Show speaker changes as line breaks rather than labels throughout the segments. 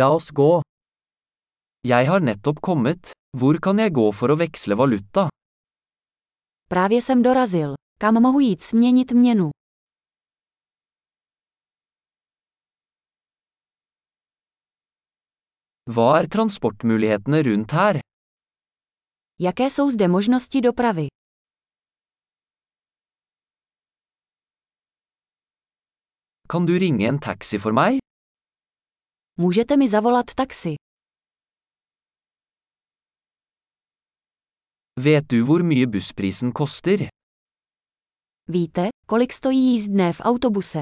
La oss gå. Jeg har nettopp kommet. Hvor kan jeg gå for å veksle valuta?
Právě jsem dorazil. Kam mohu jít směnit měnu?
Hva er transportmulighetene rundt her?
Jaké jsou zde možnosti dopravy?
Kan du ringe en taxi for meg?
Můžete mi zavolat taxi.
Vet du hvor mye bussprisen koster?
Víte, kolik stojí jízdné v autobuse?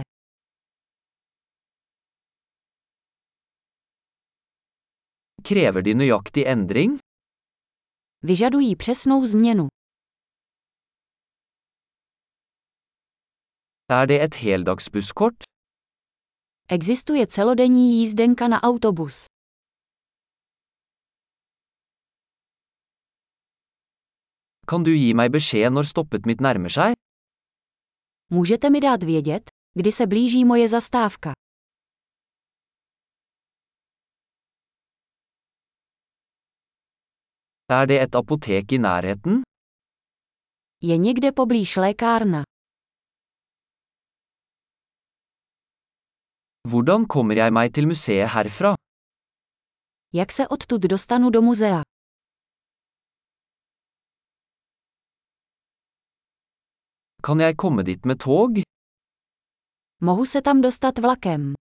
Krever de nøyaktig endring?
Vyžadují přesnou změnu.
Er det et heldagsbusskort?
Existuje celodenní jízdenka na autobus.
Kan du gi meg beskjed når stoppet mitt nærmer seg?
Můžete mi dát vědět, kdy se blíží moje zastávka?
Er det et apotek i nærheten?
Je někde poblíž lékárna.
Hvordan kommer jeg meg til museet herfra?
Jak se odtud dostanu do muzea?
Kan jeg komme dit med tog?
Mohu se tam dostat vlakem.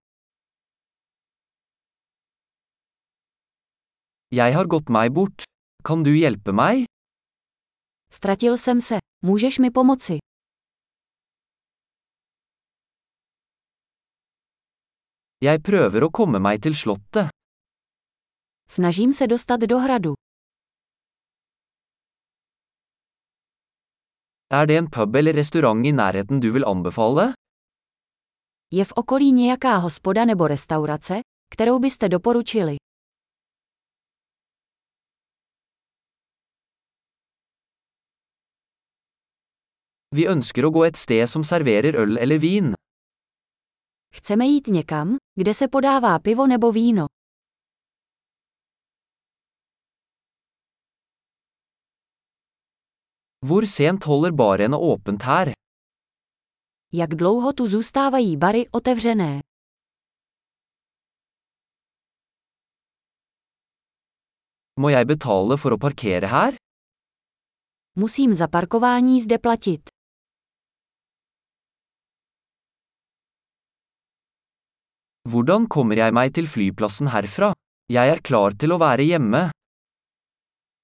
Jeg har gått meg bort. Kan du hjelpe meg?
Ztratil jsem se. Můžeš mi pomoci?
Jeg prøver å komme meg til slottet.
Snažím se dostat do hradu.
Er det en pub eller restaurant i nærheten du vil anbefale?
Je v okolí nějaká hospoda nebo restaurace, kterou byste doporučili?
Vi ønsker å gå et sted som serverer øl eller vin.
Chceme jít někam, kde se podává pivo nebo víno.
Hvor sent holder barene åpent her?
Jak dlouho tu zůstávají bary otevřené?
Må jeg betale for å parkere her?
Musím za parkování zde platit.
Hvordan kommer jeg meg til flyplassen herfra? Jeg er klar til å være hjemme.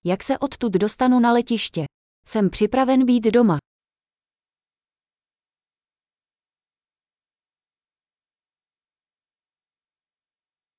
Jak se odtud dostanu na letiště? Jsem připraven být doma.